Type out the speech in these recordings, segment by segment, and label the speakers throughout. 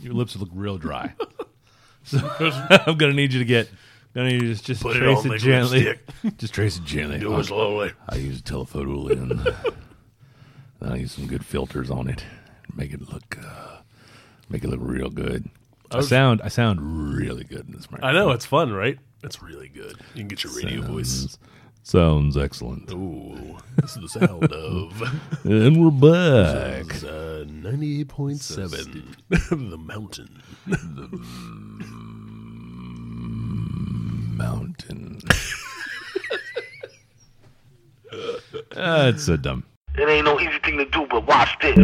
Speaker 1: Your lips look real dry. so I'm gonna need you to get. Gonna need you to just
Speaker 2: Put it
Speaker 1: trace
Speaker 2: on
Speaker 1: it,
Speaker 2: liquid
Speaker 1: gently.
Speaker 2: stick.
Speaker 1: just trace it gently.
Speaker 2: Do it slowly.
Speaker 1: I use a telephoto lens. I use some good filters on it. Make it look, uh, make it look real good. I, sound, I sound really good in this microphone.
Speaker 2: I know it's fun, right? It's really good. You can get your radio voice.
Speaker 1: Sounds, sounds excellent.
Speaker 2: Ooh, this is the sound of
Speaker 1: And we're back.
Speaker 2: uh, ninety-eight point seven. The mountain.
Speaker 1: Mountain. That's so dumb.
Speaker 3: It ain't no easy thing to do, but watch this.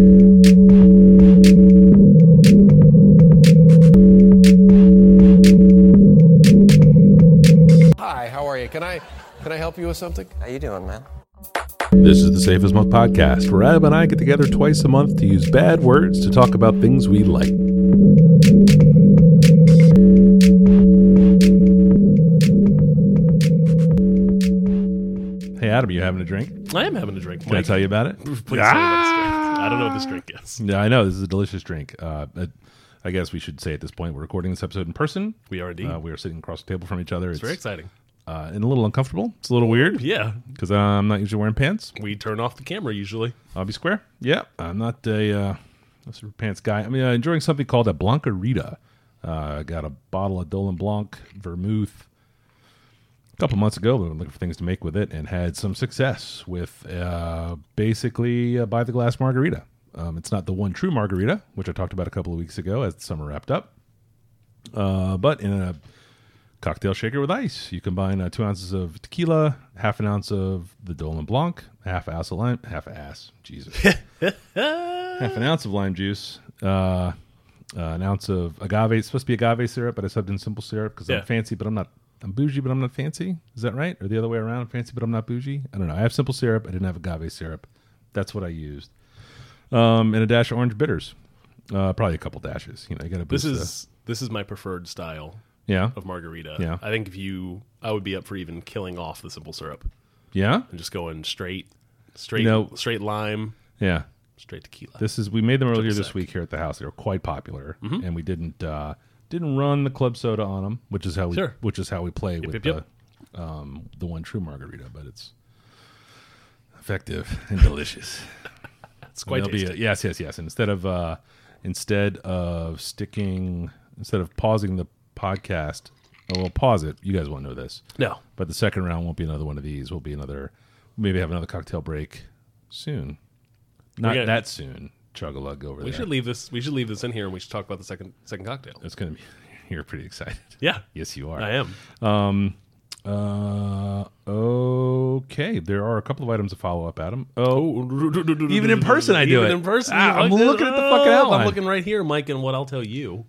Speaker 4: Hi, how are you? Can I can I help you with something?
Speaker 5: How you doing, man?
Speaker 6: This is the Safest Month podcast, where Adam and I get together twice a month to use bad words to talk about things we like.
Speaker 1: Hey Adam, you having a drink?
Speaker 2: I am having a drink.
Speaker 1: Can I tell you about it?
Speaker 2: Please tell me about this drink. I don't know what this drink is.
Speaker 1: Yeah, I know this is a delicious drink. Uh, I- I guess we should say at this point we're recording this episode in person.
Speaker 2: We are indeed.
Speaker 1: Uh, we are sitting across the table from each other. It's,
Speaker 2: Very exciting.
Speaker 1: uh, and a little uncomfortable. It's a little weird
Speaker 2: Yeah,
Speaker 1: because I'm not usually wearing pants.
Speaker 2: we turn off the camera usually.
Speaker 1: I'll be square. Yeah, I'm not a uh, a super pants guy. I mean, uh, enjoying something called a Blanca Rita. Uh, I got a bottle of Dolan Blanc vermouth a couple months ago. We were looking for things to make with it and had some success with uh, basically a by the glass margarita. Um, it's not the one true margarita, which I talked about a couple of weeks ago as the summer wrapped up. Uh, but in a cocktail shaker with ice. You combine uh, two ounces of tequila, half an ounce of the Dolan Blanc, half an ounce of lime, half an ass, Jesus, half an ounce of lime juice, uh, uh, an ounce of agave. It's supposed to be agave syrup, but I subbed in simple syrup because
Speaker 2: Yeah.
Speaker 1: I'm fancy, but I'm not. I'm bougie, but I'm not fancy. Is that right? Or the other way around? I'm fancy, but I'm not bougie. I don't know. I have simple syrup. I didn't have agave syrup. That's what I used. Um, and a dash of orange bitters. Uh, probably a couple dashes. You know, you got to
Speaker 2: This
Speaker 1: boost.
Speaker 2: is this is my preferred style
Speaker 1: the, yeah,
Speaker 2: of margarita.
Speaker 1: Yeah.
Speaker 2: I think if you, I would be up for even killing off the simple syrup
Speaker 1: yeah,
Speaker 2: and just going straight, straight,
Speaker 1: No.
Speaker 2: straight lime,
Speaker 1: yeah.
Speaker 2: straight tequila.
Speaker 1: This is we made them earlier this
Speaker 2: sec.
Speaker 1: week here at the house. They were quite popular,
Speaker 2: Mm-hmm.
Speaker 1: and we didn't uh, didn't run the club soda on them, which is how we
Speaker 2: Sure.
Speaker 1: which is how we play with
Speaker 2: yep, yep.
Speaker 1: The, um, the one true margarita. But it's effective and delicious.
Speaker 2: it's quite
Speaker 1: There'll be
Speaker 2: tasty.
Speaker 1: a- yes, yes, yes. And instead of uh, instead of sticking, instead of pausing the podcast, oh, we'll pause it. You guys won't know this,
Speaker 2: no,
Speaker 1: but the second round won't be another one of these. We'll be another. Maybe have another cocktail break soon. Not
Speaker 2: gonna-
Speaker 1: that soon. Chug a lug over
Speaker 2: we
Speaker 1: there.
Speaker 2: should leave this. We should leave this in here, and we should talk about the second second cocktail.
Speaker 1: It's gonna be. You're pretty excited.
Speaker 2: Yeah,
Speaker 1: Yes, you
Speaker 2: I
Speaker 1: are.
Speaker 2: am.
Speaker 1: Uh, okay. There are a couple of items to follow up, Adam. Oh,
Speaker 2: Even
Speaker 1: in person I do it.
Speaker 2: in person,
Speaker 1: Ah,
Speaker 2: you
Speaker 1: I'm
Speaker 2: like this?
Speaker 1: looking at the fucking
Speaker 2: Oh,
Speaker 1: outline. Hmm.
Speaker 2: I'm looking right here, Mike. And what I'll tell you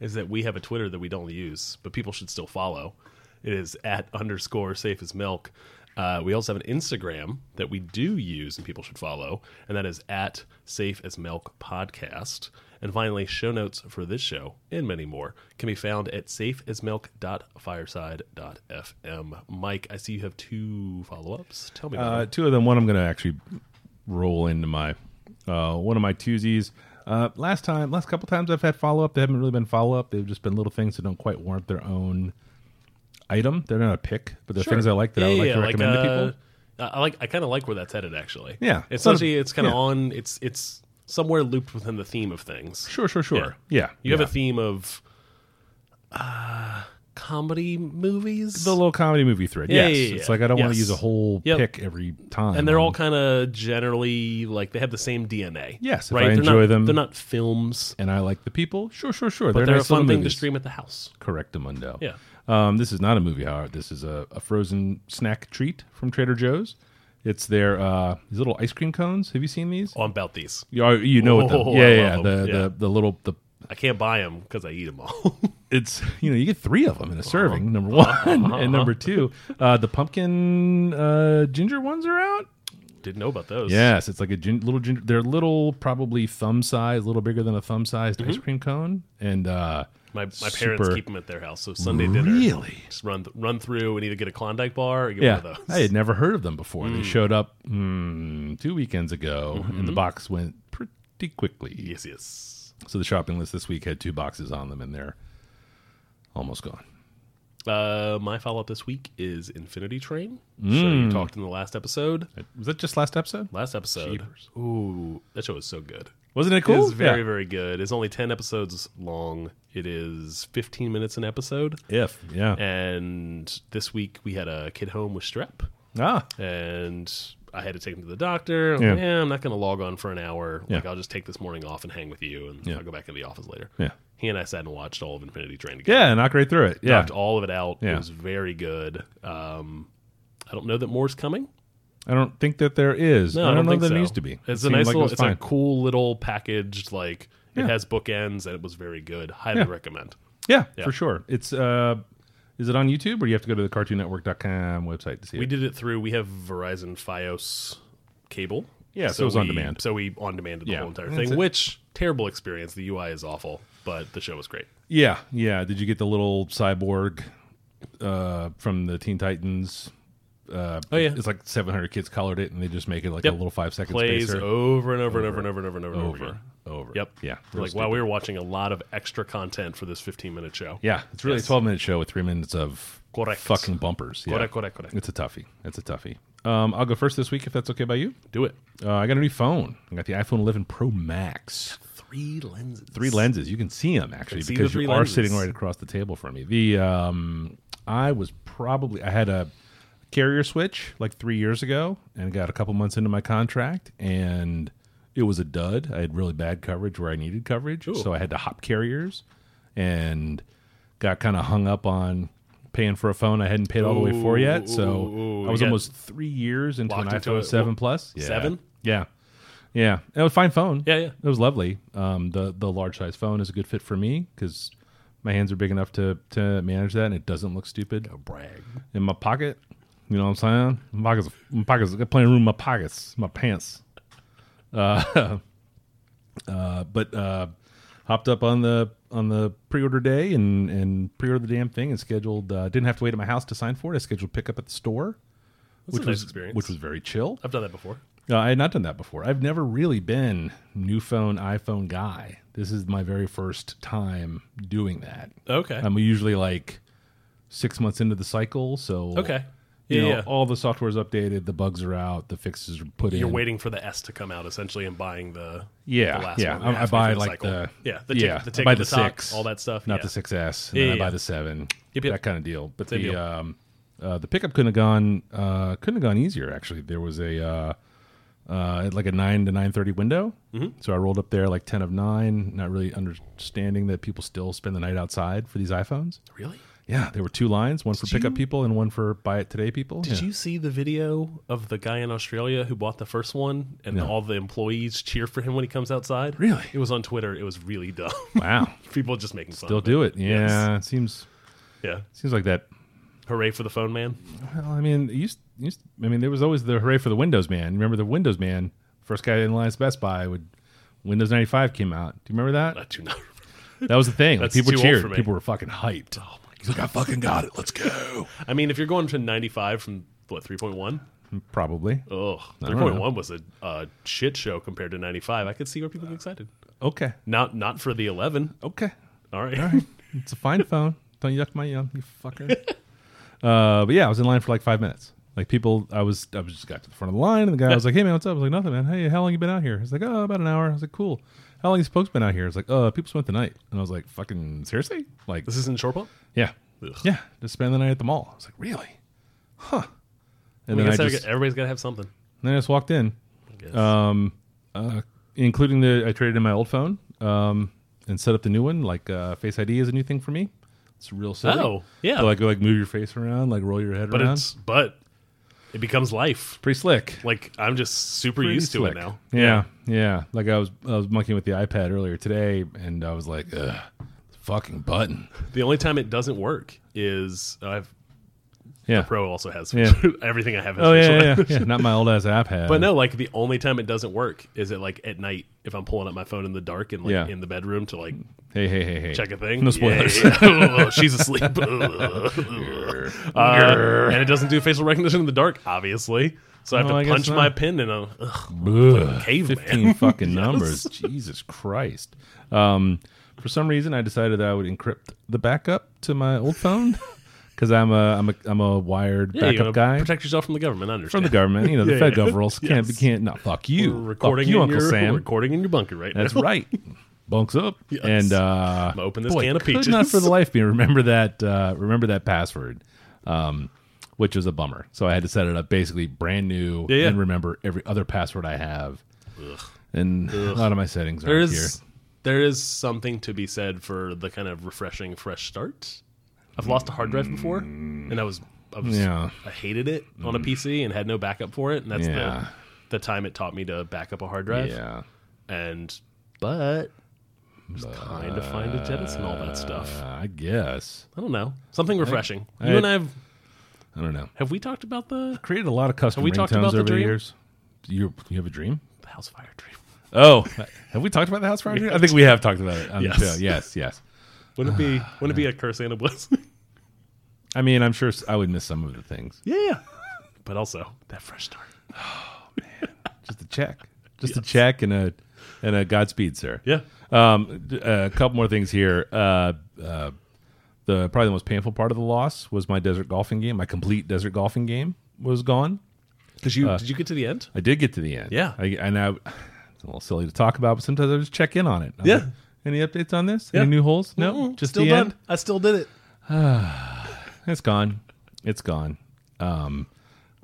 Speaker 2: is that we have a Twitter that we don't use, but people should still follow. It is at underscore safe as milk. Uh, we also have an Instagram that we do use and people should follow, and that is at safe as milk podcast. And finally, show notes for this show and many more can be found at safeasmilk.fireside.fm. Mike, I see you have two follow ups. Tell me about
Speaker 1: uh,
Speaker 2: it.
Speaker 1: two of them. One I'm gonna actually roll into my uh, one of my twosies. Uh, last time, last couple times I've had follow up. They haven't really been follow up. They've just been little things that don't quite warrant their own item. They're not a pick, but they're
Speaker 2: Sure.
Speaker 1: things I like that I would like to recommend to
Speaker 2: uh,
Speaker 1: people.
Speaker 2: I I like. I kind of like where that's headed, actually.
Speaker 1: Yeah.
Speaker 2: it's
Speaker 1: Not a-
Speaker 2: actually it's kind of
Speaker 1: yeah.
Speaker 2: on. It's it's somewhere looped within the theme of things.
Speaker 1: Sure, sure, sure. Yeah,
Speaker 2: You have
Speaker 1: yeah.
Speaker 2: a theme of uh, comedy movies,
Speaker 1: The little comedy movie thread.
Speaker 2: Yeah,
Speaker 1: yes,
Speaker 2: yeah, yeah,
Speaker 1: it's like I don't want
Speaker 2: yes.
Speaker 1: to use a whole
Speaker 2: Yep.
Speaker 1: pick every time.
Speaker 2: and they're all
Speaker 1: on-
Speaker 2: kind of generally like they have the same DNA.
Speaker 1: Yes, if
Speaker 2: right.
Speaker 1: I
Speaker 2: they're
Speaker 1: enjoy
Speaker 2: not,
Speaker 1: them-
Speaker 2: They're not films,
Speaker 1: and I like the people. Sure, sure, sure.
Speaker 2: but they're, a
Speaker 1: nice little
Speaker 2: fun thing to
Speaker 1: movies.
Speaker 2: stream at the house.
Speaker 1: Correctamundo.
Speaker 2: Yeah.
Speaker 1: Um, this is not a movie, however. This is a, a frozen snack treat from Trader Joe's. It's their uh, these little ice cream cones. Have you seen these?
Speaker 2: Oh, I'm about these.
Speaker 1: You, are- you know what the,
Speaker 2: Oh, I
Speaker 1: yeah, yeah,
Speaker 2: love
Speaker 1: the,
Speaker 2: 'em.
Speaker 1: the,
Speaker 2: Yeah.
Speaker 1: the little the
Speaker 2: I can't buy them because I eat them all.
Speaker 1: it's you know you get three of them
Speaker 2: Uh-huh.
Speaker 1: in a serving. Number one and number two, uh, the pumpkin uh, ginger ones are out.
Speaker 2: Didn't know about those.
Speaker 1: Yes, it's like a gin- little ginger. They're little, probably thumb size, a little bigger than a thumb sized ice cream cone, and uh,
Speaker 2: Mm-hmm. My, my parents
Speaker 1: super-
Speaker 2: keep them at their house, so Sunday dinner.
Speaker 1: Really?
Speaker 2: Just run th- run through and either get a Klondike bar or get
Speaker 1: Yeah,
Speaker 2: one of those.
Speaker 1: I had never heard of them before. They showed up
Speaker 2: Mm-hmm.
Speaker 1: mm, two weekends ago, and the box went pretty quickly.
Speaker 2: Yes, yes.
Speaker 1: So the shopping list this week had two boxes on them, and they're almost gone.
Speaker 2: Uh, my follow up this week is Infinity Train.
Speaker 1: Mm.
Speaker 2: So you talked in the last episode.
Speaker 1: Was that just last episode?
Speaker 2: Last episode. Ooh, that show is so good.
Speaker 1: Wasn't it cool?
Speaker 2: It is very,
Speaker 1: Yeah.
Speaker 2: very good. It's only 10 episodes long. It is 15 minutes an episode.
Speaker 1: If yeah,
Speaker 2: And this week we had a kid home with strep.
Speaker 1: ah,
Speaker 2: and I had to take him to the doctor. I'm
Speaker 1: Yeah.
Speaker 2: like, "Eh, I'm not going to log on for an hour. Like,
Speaker 1: Yeah.
Speaker 2: I'll just take this morning off and hang with you, and I'll go back into the office later.
Speaker 1: Yeah.
Speaker 2: He and I sat and watched all of Infinity Train together.
Speaker 1: yeah, knock right through it. Yeah,
Speaker 2: Knocked all of it out.
Speaker 1: Yeah.
Speaker 2: It was very good. Um, I don't know that more's coming.
Speaker 1: I don't think that there is.
Speaker 2: No,
Speaker 1: I don't,
Speaker 2: think
Speaker 1: know that
Speaker 2: so.
Speaker 1: there needs to be. It
Speaker 2: It's a
Speaker 1: seemed
Speaker 2: nice
Speaker 1: like it
Speaker 2: little.
Speaker 1: was
Speaker 2: It's a
Speaker 1: fine.
Speaker 2: cool little packaged. Like
Speaker 1: Yeah.
Speaker 2: it has bookends, and it was very good. Highly
Speaker 1: Yeah.
Speaker 2: recommend.
Speaker 1: yeah,
Speaker 2: Yeah.
Speaker 1: for sure. It's uh, is it on YouTube or you have to go to the CartoonNetwork.com website to see
Speaker 2: We
Speaker 1: it?
Speaker 2: did it through. We have Verizon Fios cable.
Speaker 1: Yeah, so it was on
Speaker 2: we-
Speaker 1: demand.
Speaker 2: So we on demanded the
Speaker 1: Yeah.
Speaker 2: whole entire
Speaker 1: That's
Speaker 2: thing,
Speaker 1: it.
Speaker 2: which terrible experience. The UI is awful, but the show was great.
Speaker 1: Yeah, yeah. Did you get the little cyborg uh, from the Teen Titans? Uh,
Speaker 2: Oh, yeah.
Speaker 1: it's like 700 kids colored it, and they just make it like
Speaker 2: Yep.
Speaker 1: a little five second
Speaker 2: Plays
Speaker 1: spacer.
Speaker 2: over and over and over and over and over and over. and
Speaker 1: over,
Speaker 2: again.
Speaker 1: over.
Speaker 2: Yep.
Speaker 1: Yeah.
Speaker 2: We're like,
Speaker 1: real
Speaker 2: wow,
Speaker 1: stupid.
Speaker 2: we were watching a lot of extra content for this 15 minute show.
Speaker 1: Yeah, it's really
Speaker 2: Yes.
Speaker 1: a 12 minute show with three minutes of
Speaker 2: Correct.
Speaker 1: fucking bumpers. Yeah.
Speaker 2: Correct, correct, correct.
Speaker 1: It's a toughie. It's a toughie. Um, I'll go first this week if that's okay by you.
Speaker 2: Do it.
Speaker 1: Uh, I got a new phone. I got the iPhone 11 Pro Max.
Speaker 2: Three lenses.
Speaker 1: Three lenses. You can see them actually
Speaker 2: Can see
Speaker 1: because
Speaker 2: the
Speaker 1: you
Speaker 2: three
Speaker 1: are
Speaker 2: lenses.
Speaker 1: sitting right across the table from me. The um, I was probably I had a carrier switch like three years ago and got a couple months into my contract and it was a dud. I had really bad coverage where I needed coverage, so I had to hop carriers and got kind of hung up on paying for a phone I hadn't paid all the way for yet. So
Speaker 2: Ooh,
Speaker 1: I was
Speaker 2: you got
Speaker 1: almost three years into an
Speaker 2: locked into
Speaker 1: iPhone
Speaker 2: a-
Speaker 1: 7 Plus. Yeah.
Speaker 2: seven?
Speaker 1: Yeah. Yeah, it was a fine phone.
Speaker 2: Yeah, yeah.
Speaker 1: it was lovely. Um, the the large size phone is a good fit for me because my hands are big enough to to manage that, and it doesn't look stupid
Speaker 2: Brag.
Speaker 1: in my pocket. You know what I'm saying? My pockets, my pockets, I got plenty of room in my pockets, my pants. Uh, uh, but uh, hopped up on the on the pre-order day and and pre-ordered the damn thing and scheduled. Uh, didn't have to wait at my house to sign for it. I scheduled pickup at the store,
Speaker 2: That's
Speaker 1: which
Speaker 2: a nice
Speaker 1: was
Speaker 2: experience.
Speaker 1: which was very chill.
Speaker 2: I've done that before.
Speaker 1: Uh, I had not done that before. I've never really been new phone iPhone guy. This is my very first time doing that.
Speaker 2: Okay.
Speaker 1: I'm usually like six months into the cycle, so
Speaker 2: okay.
Speaker 1: you
Speaker 2: Yeah.
Speaker 1: know,
Speaker 2: yeah.
Speaker 1: all the software is updated, the bugs are out, the fixes are put in.
Speaker 2: You're waiting for the S to come out essentially and buying the
Speaker 1: Yeah,
Speaker 2: the last
Speaker 1: yeah.
Speaker 2: one,
Speaker 1: I- I,
Speaker 2: halfway
Speaker 1: buy
Speaker 2: through
Speaker 1: like
Speaker 2: cycle.
Speaker 1: the
Speaker 2: yeah the
Speaker 1: yeah.
Speaker 2: tick,
Speaker 1: I
Speaker 2: the tick
Speaker 1: buy
Speaker 2: on the, top,
Speaker 1: six,
Speaker 2: all that stuff
Speaker 1: Not
Speaker 2: yeah.
Speaker 1: the 6S. And
Speaker 2: Yeah,
Speaker 1: then
Speaker 2: yeah,
Speaker 1: I buy
Speaker 2: yeah.
Speaker 1: the seven.
Speaker 2: Yep, yep.
Speaker 1: That kind of deal. But
Speaker 2: Same
Speaker 1: the
Speaker 2: deal.
Speaker 1: um, uh, the pickup couldn't have gone uh, couldn't have gone easier. Actually, there was a uh, uh, at like a nine to nine thirty window. Mm-hmm. So I rolled up there like ten of nine, not really understanding that people still spend the night outside for these iPhones.
Speaker 2: Really?
Speaker 1: Yeah, there were two lines, one for pickup people and one for buy it today people.
Speaker 2: Did you see the video of the guy in Australia who bought the first one and all the employees cheer for him when he comes outside?
Speaker 1: Really?
Speaker 2: It was on Twitter. It was really dumb.
Speaker 1: Wow,
Speaker 2: People just making fun.
Speaker 1: they'll
Speaker 2: of
Speaker 1: do it. Yeah, it seems
Speaker 2: Yeah.
Speaker 1: seems like that
Speaker 2: Hooray for the phone man.
Speaker 1: Well, I mean, it used, it used I mean, there was always the hooray for the Windows man. Remember the Windows man? First guy in line at Best Buy would Windows ninety five came out. Do you remember
Speaker 2: I
Speaker 1: that?
Speaker 2: do not remember.
Speaker 1: That was the thing. Like,
Speaker 2: That's
Speaker 1: people
Speaker 2: too old for
Speaker 1: cheered.
Speaker 2: me.
Speaker 1: People were fucking hyped. Oh my god! Like I fucking got it. Let's go.
Speaker 2: I mean, if you're going to 95 from, what, 3.1?
Speaker 1: Probably.
Speaker 2: Ugh. 3.1 was a uh, shit show compared to 95. I could see where people get excited.
Speaker 1: Okay.
Speaker 2: Not not for the 11.
Speaker 1: Okay.
Speaker 2: All right.
Speaker 1: All right. it's a fine phone. Don't yuck my yum, you fucker. uh, but yeah, I was in line for like five minutes. Like people, I was, I was just got to the front of the line, and the guy was like, "Hey man, what's up?" I was like, "Nothing, man. Hey, how long you been out here?" He's like, "Oh, about an hour." I was like, "Cool." How long has folks been out here? It's like, "Uh, people spent the night," and I was like, "Fucking seriously?" Like,
Speaker 2: This isn't Shorepump?
Speaker 1: yeah,
Speaker 2: Ugh.
Speaker 1: yeah, just spend the night at the mall. I was like, "Really?" Huh? And
Speaker 2: I
Speaker 1: then I
Speaker 2: guess I
Speaker 1: just,
Speaker 2: got- everybody's got to have something.
Speaker 1: then I just walked in,
Speaker 2: guess.
Speaker 1: um, uh, including the I traded in my old phone um, and set up the new one. Like uh, Face ID is a new thing for me. It's real silly.
Speaker 2: Oh, yeah.
Speaker 1: So, like like move your face around, like roll your head
Speaker 2: But
Speaker 1: around.
Speaker 2: it's, but it becomes life.
Speaker 1: pretty slick.
Speaker 2: Like, I'm just super
Speaker 1: Pretty
Speaker 2: used to
Speaker 1: slick.
Speaker 2: it now.
Speaker 1: Yeah, yeah, Like I was I was monkeying with the iPad earlier today, and I was like, Ugh, fucking button.
Speaker 2: The only time it doesn't work is I've
Speaker 1: Yeah.
Speaker 2: Pro also has
Speaker 1: Yeah.
Speaker 2: everything I have. Has
Speaker 1: Oh
Speaker 2: facial
Speaker 1: yeah, yeah, yeah,
Speaker 2: recognition.
Speaker 1: yeah. Not my old ass app had.
Speaker 2: But no, like the only time it doesn't work is it like at night if I'm pulling up my phone in the dark and like
Speaker 1: Yeah.
Speaker 2: in the bedroom to like
Speaker 1: Hey, hey, hey, hey.
Speaker 2: check a thing.
Speaker 1: No spoilers.
Speaker 2: Yeah, yeah. She's asleep. Uh, and it doesn't do facial recognition in the dark, obviously. So I have
Speaker 1: No, I
Speaker 2: to
Speaker 1: guess
Speaker 2: punch my
Speaker 1: not.
Speaker 2: pendant on. Ugh,
Speaker 1: Ugh,
Speaker 2: caveman.
Speaker 1: 15 fucking
Speaker 2: Yes.
Speaker 1: numbers. Jesus Christ. Um, for some reason, I decided that I would encrypt the backup to my old phone because I'm a, I'm a, I'm a wired
Speaker 2: yeah, you
Speaker 1: backup
Speaker 2: know,
Speaker 1: guy.
Speaker 2: Protect yourself from the government. I
Speaker 1: from
Speaker 2: understand.
Speaker 1: the government, you know, the
Speaker 2: Yeah,
Speaker 1: Fed
Speaker 2: yeah.
Speaker 1: Gov rules can't,
Speaker 2: Yes.
Speaker 1: can't, no, fuck you.
Speaker 2: We're recording
Speaker 1: fuck you,
Speaker 2: in
Speaker 1: Uncle
Speaker 2: your,
Speaker 1: Sam.
Speaker 2: we're recording in your bunker right
Speaker 1: That's
Speaker 2: now.
Speaker 1: right. Bunks up.
Speaker 2: Yes.
Speaker 1: And uh
Speaker 2: I'ma open this
Speaker 1: boy,
Speaker 2: can of
Speaker 1: could
Speaker 2: peaches.
Speaker 1: Not for the life of me remember that uh remember that password. Um which was a bummer. So I had to set it up basically brand new
Speaker 2: Yeah, yeah.
Speaker 1: and remember every other password I have. And a lot of my settings
Speaker 2: There
Speaker 1: are here.
Speaker 2: is there is something to be said for the kind of refreshing fresh start. I've lost a hard drive before, and I was I was
Speaker 1: Yeah.
Speaker 2: I hated it on a PC and had no backup for it, and that's
Speaker 1: Yeah.
Speaker 2: the the time it taught me to back up a hard drive.
Speaker 1: Yeah.
Speaker 2: And but it's kind of fine to jettison all that stuff.
Speaker 1: Uh, I guess.
Speaker 2: I don't know something refreshing.
Speaker 1: I-
Speaker 2: you and I have
Speaker 1: I don't know.
Speaker 2: have we talked about the
Speaker 1: Created a lot of custom
Speaker 2: Have we talked
Speaker 1: ringtones
Speaker 2: about the
Speaker 1: over the
Speaker 2: dream?
Speaker 1: years. You you have a dream?
Speaker 2: the house fire dream?
Speaker 1: Oh, have we talked about the house fire? dream? I think we have talked about it. On
Speaker 2: Yes.
Speaker 1: The show. Yes, yes.
Speaker 2: Wouldn't it be wouldn't it be a curse and a blessing?
Speaker 1: I mean, I'm sure s- I would miss some of the things.
Speaker 2: yeah, but also that fresh start.
Speaker 1: just a check, just a check and a and a Godspeed, sir.
Speaker 2: Yeah.
Speaker 1: Um, d- a couple more things here. Uh, uh, the probably the most painful part of the loss was my desert golfing game. My complete desert golfing game was gone.
Speaker 2: Did you did you get to the end?
Speaker 1: I did get to the end.
Speaker 2: Yeah.
Speaker 1: I, and I, it's a little silly to talk about, but sometimes I just check in on it. I'm
Speaker 2: Yeah.
Speaker 1: like, Any updates on this?
Speaker 2: Yeah.
Speaker 1: Any new holes? No.
Speaker 2: Mm-mm,
Speaker 1: Just
Speaker 2: still
Speaker 1: the
Speaker 2: done.
Speaker 1: end.
Speaker 2: I still did it.
Speaker 1: It's gone. It's gone. Um,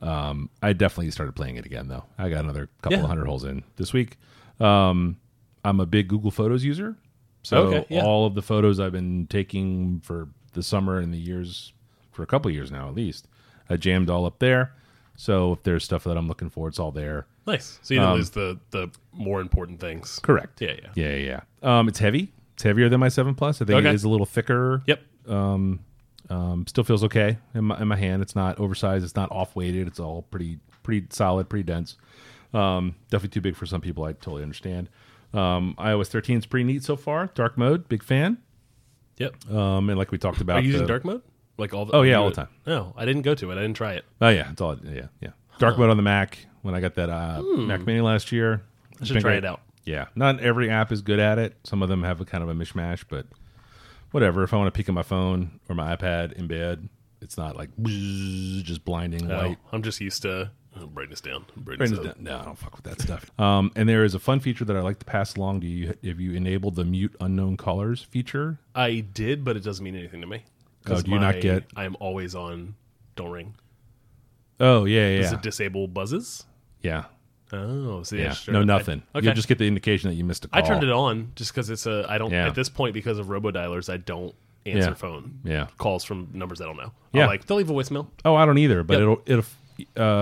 Speaker 1: um, I definitely started playing it again though. I got another couple
Speaker 2: Yeah.
Speaker 1: hundred holes in this week. Um, I'm a big Google Photos user, so
Speaker 2: Okay, yeah.
Speaker 1: all of the photos I've been taking for the summer and the years for a couple of years now at least, I jammed all up there. So if there's stuff that I'm looking for, it's all there.
Speaker 2: Nice. So you didn't lose the the more important things.
Speaker 1: Correct.
Speaker 2: Yeah, yeah.
Speaker 1: yeah, yeah. yeah. Um, it's heavy. It's heavier than my seven plus. I think
Speaker 2: Okay.
Speaker 1: it is a little thicker.
Speaker 2: Yep.
Speaker 1: Um, still feels okay in my, in my hand. It's not oversized. It's not off weighted. It's all pretty pretty solid, pretty dense. Um, definitely too big for some people. I totally understand. Um, iOS 13 is pretty neat so far. Dark mode, big fan.
Speaker 2: Yep.
Speaker 1: Um, and like we talked about,
Speaker 2: Are you using
Speaker 1: the-
Speaker 2: dark mode? Like all the
Speaker 1: Oh, yeah,
Speaker 2: you-
Speaker 1: all the time.
Speaker 2: No, I didn't go to it. I didn't try it.
Speaker 1: Oh yeah, it's all yeah yeah. Dark mode on the Mac. When I got that uh, Mac Mini last year, I
Speaker 2: Hmm. should try it out.
Speaker 1: Yeah, not every app is good at it. Some of them have a kind of a mishmash, but whatever. If I want to peek at my phone or my iPad in bed, it's not like just blinding
Speaker 2: No,
Speaker 1: light.
Speaker 2: I'm just used to oh, brightness down. Brightness,
Speaker 1: Brain is
Speaker 2: up.
Speaker 1: done. No, I don't fuck with that stuff. Um, and there is a fun feature that I like to pass along to you. If you enable the mute unknown callers feature,
Speaker 2: I did, but it doesn't mean anything to me. 'Cause
Speaker 1: Oh, do you not
Speaker 2: my-
Speaker 1: get-
Speaker 2: I am always on. Don't ring.
Speaker 1: oh yeah, yeah,
Speaker 2: Does
Speaker 1: yeah.
Speaker 2: it disable buzzes?
Speaker 1: yeah,
Speaker 2: Oh, so yeah,
Speaker 1: yeah.
Speaker 2: sure.
Speaker 1: no nothing.
Speaker 2: I, okay.
Speaker 1: You'll just get the indication that you missed a call.
Speaker 2: I turned it on just because it's a. I don't
Speaker 1: Yeah.
Speaker 2: at this point because of robodialers. I don't answer
Speaker 1: Yeah.
Speaker 2: phone
Speaker 1: Yeah.
Speaker 2: calls from numbers I don't know.
Speaker 1: Yeah.
Speaker 2: I'm like they'll leave a voicemail.
Speaker 1: Oh, I don't either. But
Speaker 2: Yep.
Speaker 1: it'll it'll.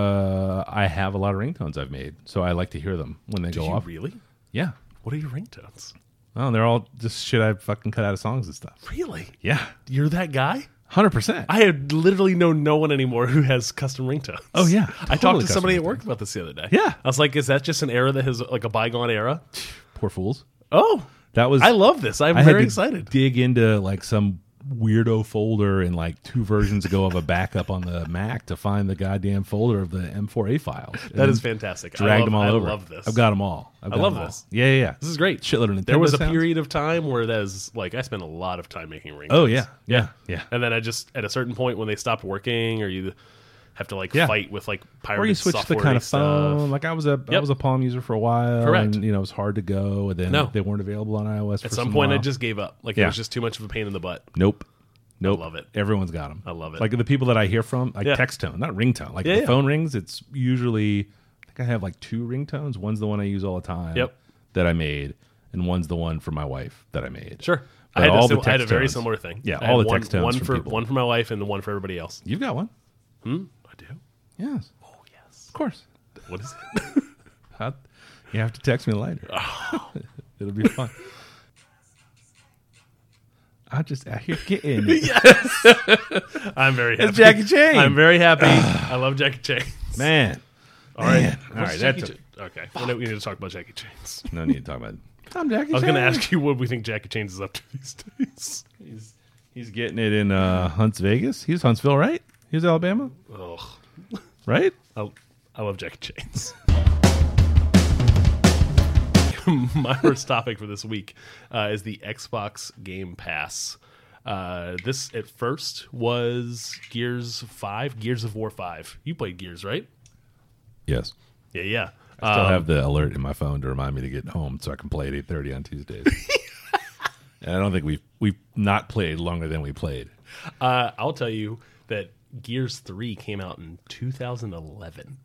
Speaker 1: Uh, I have a lot of ringtones I've made, so I like to hear them when they
Speaker 2: Do
Speaker 1: go
Speaker 2: you
Speaker 1: off.
Speaker 2: really?
Speaker 1: yeah.
Speaker 2: What are your ringtones?
Speaker 1: Oh, they're all just shit I fucking cut out of songs and stuff.
Speaker 2: Really?
Speaker 1: Yeah,
Speaker 2: You're that guy?
Speaker 1: hundred percent.
Speaker 2: I have literally know no one anymore who has custom ringtones.
Speaker 1: Oh, yeah. Totally
Speaker 2: I talked to somebody
Speaker 1: custom
Speaker 2: at work about this the other day.
Speaker 1: Yeah.
Speaker 2: I was like, is that just an era that has like a bygone era?
Speaker 1: Poor fools.
Speaker 2: Oh.
Speaker 1: That was
Speaker 2: I love this. I'm
Speaker 1: I had
Speaker 2: very
Speaker 1: to
Speaker 2: excited.
Speaker 1: Dig into like some weirdo folder and like two versions ago of a backup on the Mac to find the goddamn folder of the M4A files.
Speaker 2: That is fantastic. I
Speaker 1: Dragged
Speaker 2: love,
Speaker 1: them all
Speaker 2: I
Speaker 1: over.
Speaker 2: love this.
Speaker 1: I've got them all. I've
Speaker 2: I
Speaker 1: got
Speaker 2: love
Speaker 1: 'em all.
Speaker 2: this.
Speaker 1: Yeah, yeah, yeah.
Speaker 2: this is great.
Speaker 1: Shitload of Nintendo
Speaker 2: There was a
Speaker 1: sounds.
Speaker 2: period of time where that is like I spent a lot of time making ringtones.
Speaker 1: Oh yeah,
Speaker 2: uh,
Speaker 1: yeah, yeah.
Speaker 2: And then I just at a certain point when they stopped working or you have to like
Speaker 1: Yeah.
Speaker 2: fight with like pirated
Speaker 1: Or you switch the
Speaker 2: software
Speaker 1: kind of
Speaker 2: and stuff.
Speaker 1: phone. Like I was a I
Speaker 2: Yep.
Speaker 1: was a Palm user for a while.
Speaker 2: Correct.
Speaker 1: And, you know, it was hard to go, and then
Speaker 2: No.
Speaker 1: they weren't available on iOS.
Speaker 2: At
Speaker 1: for
Speaker 2: some point
Speaker 1: while.
Speaker 2: I just gave up. Like
Speaker 1: Yeah.
Speaker 2: it was just too much of a pain in the butt.
Speaker 1: nope. Nope.
Speaker 2: love it.
Speaker 1: Everyone's got them. I
Speaker 2: love it.
Speaker 1: Like the people that I hear from, like
Speaker 2: Yeah.
Speaker 1: text tone, not ringtone. Like
Speaker 2: Yeah,
Speaker 1: the
Speaker 2: yeah.
Speaker 1: phone rings, it's usually I think I have like two ringtones. One's the one I use all the time.
Speaker 2: Yep.
Speaker 1: That I made, and one's the one for my wife that I made.
Speaker 2: Sure.
Speaker 1: But
Speaker 2: I had, a
Speaker 1: all
Speaker 2: sim-
Speaker 1: the
Speaker 2: I had a
Speaker 1: text
Speaker 2: very
Speaker 1: tones-
Speaker 2: similar thing.
Speaker 1: Yeah,
Speaker 2: I
Speaker 1: all
Speaker 2: had
Speaker 1: the
Speaker 2: one,
Speaker 1: text tones
Speaker 2: One
Speaker 1: from
Speaker 2: for
Speaker 1: people.
Speaker 2: one for my wife and the one for everybody else.
Speaker 1: You've got one.
Speaker 2: I do.
Speaker 1: Yes.
Speaker 2: Oh yes.
Speaker 1: Of course.
Speaker 2: What is it?
Speaker 1: How, you have to text me later.
Speaker 2: Oh.
Speaker 1: It'll be fun. I just out here getting it.
Speaker 2: I'm very happy.
Speaker 1: Jackie Chan.
Speaker 2: I'm very happy. I love Jackie Chan.
Speaker 1: man.
Speaker 2: All right.
Speaker 1: All right,
Speaker 2: What's
Speaker 1: that's
Speaker 2: Jackie Chan- okay. We know- we need to talk about Jackie Chan's.
Speaker 1: no need to talk about. It. I'm Jackie.
Speaker 2: I was going to ask you what we think Jackie Chan's is up to these days.
Speaker 1: He's, he's getting it in uh, Hunts Vegas. He's Huntsville, right? He's Alabama,
Speaker 2: Oh,
Speaker 1: right?
Speaker 2: I, I love Jack in Chains. My first topic for this week uh, is the Xbox Game Pass. Uh, this at first was Gears Five, Gears of War Five. You played Gears, right?
Speaker 1: Yes.
Speaker 2: Yeah, yeah.
Speaker 1: I
Speaker 2: Um,
Speaker 1: still have the alert in my phone to remind me to get home so I can play at 8:30 on Tuesdays. and I don't think we've we've not played longer than we played.
Speaker 2: Uh, I'll tell you that Gears 3 came out in 2011.